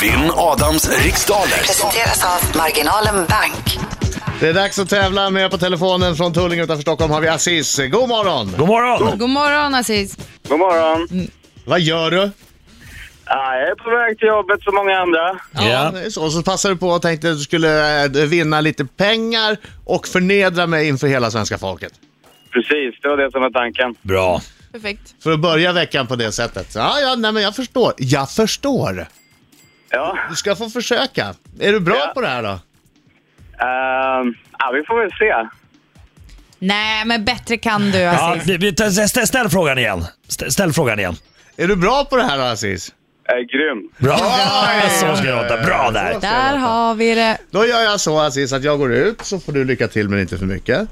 Vinn Adams riksdaler. Presenteras av Marginalen Bank. Det är dags att tävla. Med på telefonen från Tullinge utanför Stockholm har vi Aziz. God morgon! God morgon! God morgon Aziz. God morgon. Vad gör du? Ja, jag är på väg till jobbet som många andra. Ja. det är så. Så passade du på och tänkte att du skulle eh, vinna lite pengar och förnedra mig inför hela svenska folket. Precis, det var det som var tanken. Bra. Perfekt. För att börja veckan på det sättet. Ja, ja, nej men jag förstår. Jag förstår. Ja, Du ska få försöka. Är du bra Ja. på det här då? ehm, ja vi får väl se. Nej, men bättre kan du Ja, Aziz. vi- vi- ställ, ställ, ställ frågan igen. Ställ, ställ frågan igen. Är du bra på det här då, Aziz? Äh, grym. Bra! Så ska jag låta. Bra där. Där har vi det. Då gör jag så Aziz att jag går ut så får du lycka till men inte för mycket.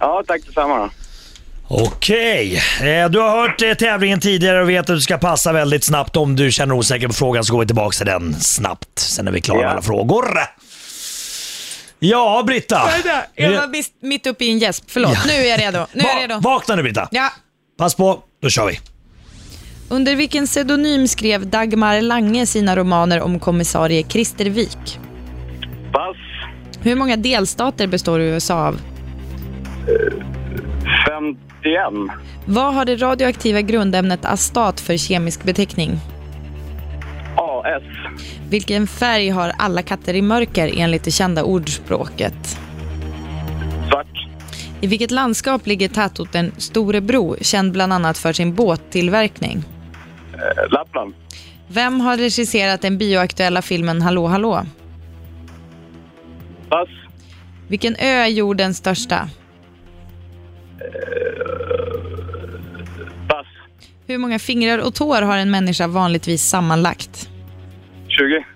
Ja, tack detsamma då. Okej, eh, du har hört eh, tävlingen tidigare och vet att du ska passa väldigt snabbt. Om du känner osäker på frågan så går vi tillbaka till den snabbt. Sen är vi klara Ja. med alla frågor. Ja, Britta. Jag var bis- mitt uppe i en gäsp, förlåt. Nu är jag redo. Nu är jag Va- redo. vakna nu Britta. Ja. Pass på, då kör vi. Under vilken pseudonym skrev Dagmar Lange sina romaner om kommissarie Christer Wik? Pass. Hur många delstater består USA av? 51. Vad har det radioaktiva grundämnet astat för kemisk beteckning? AS. Vilken färg har alla katter i mörker enligt det kända ordspråket? Svart. I vilket landskap ligger tätorten Storebro, känd bland annat för sin båttillverkning? Eh, Lappland. Vem har regisserat den bioaktuella filmen Hallå hallå? Pass. Vilken ö är jordens största? Pass. Hur många fingrar och tår har en människa vanligtvis sammanlagt? 20.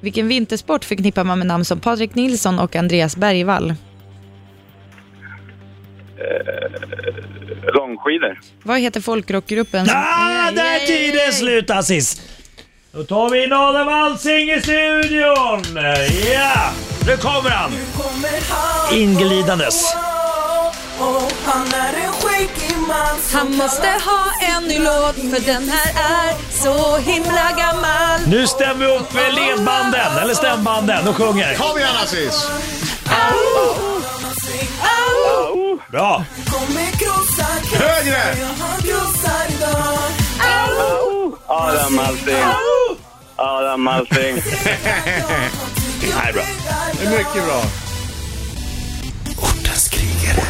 Vilken vintersport förknippar man med namn som Patrik Nilsson och Andreas Bergvall? Långskidor. Vad heter folkrockgruppen som... Ah, där är tiden slut Aziz. Då tar vi in Adam Alsing i studion. Ja, nu kommer han. Inglidandes. Han måste ha en ny låt för den här är så himla gammal Nu stämmer vi upp med ledbanden, eller stämbanden, och sjunger. Kom igen Aziz! Au! Bra! Kommer krossa Högre! Han krossar idag Adam Alsing. Adam Alsing. Nej, bra. Det är mycket bra. Ortens krigare.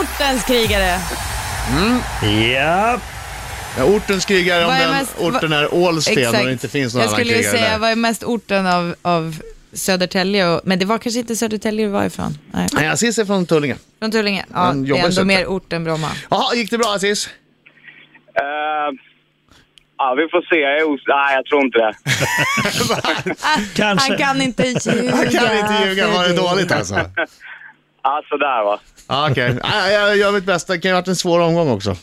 Ortens krigare! Ja, Ja, orten skrigar om Vad är den mest- orten är Ålsten och det inte finns någon Jag annan skulle ju krigare säga, där. vad är mest orten av, av Södertälje? Och, men det var kanske inte Södertälje du var ifrån? Nej. Nej, Aziz är från Tullinge. Från Tullinge? Ja, Men det är jobbar ändå söder. mer ort än Bromma. Jaha, gick det bra Aziz? Eh, Ja, vi får se. Jag är os- Nej, jag tror inte det. Kanske. Han kan inte ljuga. Jag kan inte ljuga, var det dåligt alltså? Ja, sådär va. Ja, Okej, Ja, jag gör mitt bästa. Det kan ju ha varit en svår omgång också.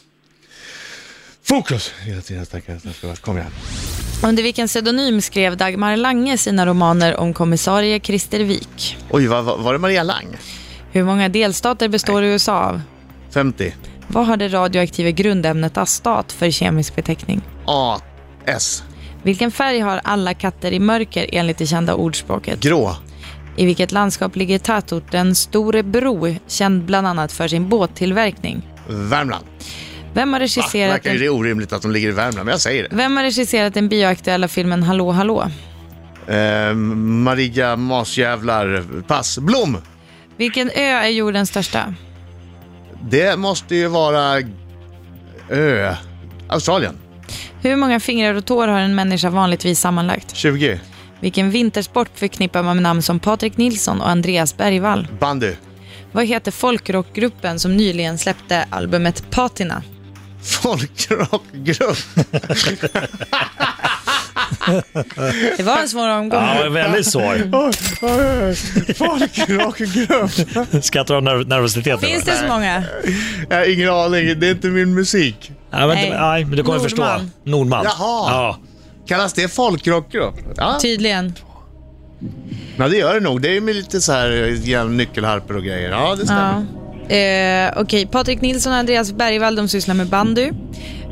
Fokus! Hela tiden stackars stackars. Kom igen. Under vilken pseudonym skrev Dagmar Lange sina romaner om kommissarie Christer Wik? Oj, vad, vad- var det Maria Lang? Hur många delstater består USA av? 50. Vad har det radioaktiva grundämnet astat för kemisk beteckning? A. S. Vilken färg har alla katter i mörker enligt det kända ordspråket? Grå. I vilket landskap ligger tätorten Storebro, känd bland annat för sin båttillverkning? Värmland. Vem har Va? regisserat, Verkar ju den, det orimligt att de ligger i Värmland, men jag säger det. vem har regisserat den bioaktuella filmen Hallå hallå? Eh, Maria Masjävlar. Pass. Blom! Vilken ö är jordens största? Det måste ju vara... Ö. Australien. Hur många fingrar och tår har en människa vanligtvis sammanlagt? 20. Vilken vintersport förknippar man med namn som Patrik Nilsson och Andreas Bergvall? Bandy. Vad heter folkrockgruppen som nyligen släppte albumet Patina? Folkrockgrupp. Det var en svår omgång. Ja, det är väldigt svår. Folkrockgrupp. Skrattar av nerv- nervositet nu? Finns det så många? Jag har ingen aning, det är inte min musik. Nej, men, Nej. nej, men du kommer förstå. Nordman. Nordman. Jaha. Ja. Kallas det folkrockgrupp? Ja, Tydligen. ja det gör det nog. Det är ju med lite så här eh, nyckelharpor och grejer. Ja, det stämmer. Ja. Eh, Okej, Patrik Nilsson och Andreas Bergvall de sysslar med bandy.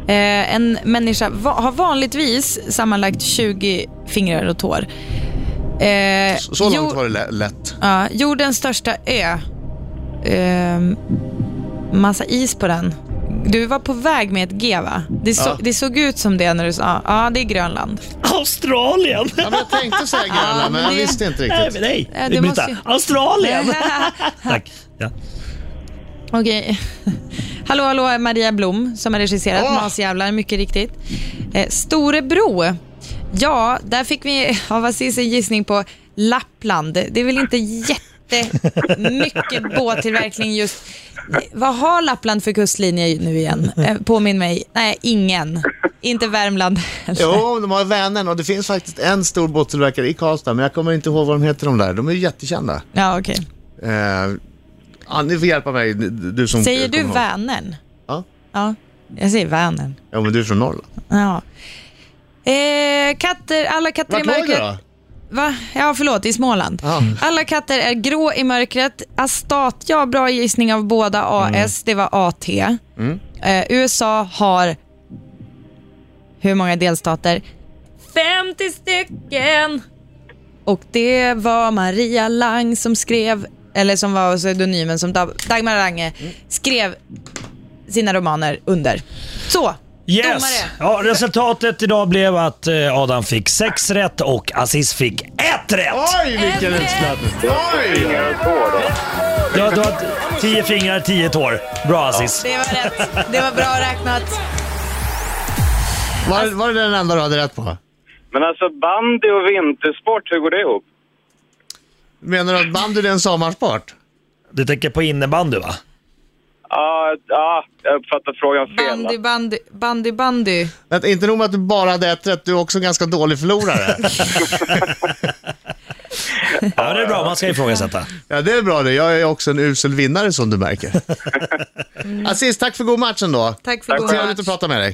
Eh, en människa va- har vanligtvis sammanlagt 20 fingrar och tår. Eh, Så långt jo- var det lä- lätt. Ja, jordens största ö. Ehm, massa is på den. Du var på väg med ett G va? Det, så, Ja. det såg ut som det när du sa, ja det är Grönland. Australien! Ja, men jag tänkte säga Ja, Grönland, men jag men det- visste inte Nej, riktigt. men nej. Äh, det Britta, måste ju- Australien! Tack. Ja. Okej. Hallå hallå Maria Blom som har regisserat Åh! Masjävlar, mycket riktigt. Eh, Storebro. Ja, där fick vi av Aziz en gissning på Lappland. Det är väl inte jättemycket båttillverkning just. Vad har Lappland för kustlinje nu igen? Eh, Påminn mig. Nej, ingen. Inte Värmland. Jo, de har Vänern och det finns faktiskt en stor båttillverkare i Karlstad, men jag kommer inte ihåg vad de heter de där. De är ju jättekända. Ja, okej. Eh, ja, ni får hjälpa mig, du som Säger du kommer ihåg. Vänern? Ja. Ja, jag säger Vänern. Ja, men du är från Norrland. Ja. Eh, katter, alla katter i Vart låg mörkret. det då? Va? Ja, förlåt, i Småland. Ja. Alla katter är grå i mörkret. Astat, ja, bra gissning av båda. AS, det var AT. Eh, USA har hur många delstater? 50 stycken! Och det var Maria Lang som skrev, eller som var pseudonymen som Dag- Dagmar Lange skrev sina romaner under. Så, Yes! domare. Ja, resultatet idag blev att eh, Adam fick sex rätt och Aziz fick ett rätt! Oj, vilken utslappning! Oj! Fingrar och tår då. Du har, du har tio fingrar, tio tår. Bra Aziz. Det var rätt. Det var bra räknat. Var, var det den enda du hade rätt på? Men alltså bandy och vintersport, hur går det ihop? Menar du att bandy är en sommarsport? Du tänker på innebandy va? Ja, ja, jag uppfattar frågan fel. Bandy, bandy, bandy, bandy. Att, inte nog med att du bara hade ett rätt, du är också en ganska dålig förlorare. Ja, men det är bra. Man ska ifrågasätta. ja, det är bra det. Jag är också en usel vinnare som du märker. Aziz, tack för god match ändå. Tack för god Trevligt att match. prata med dig.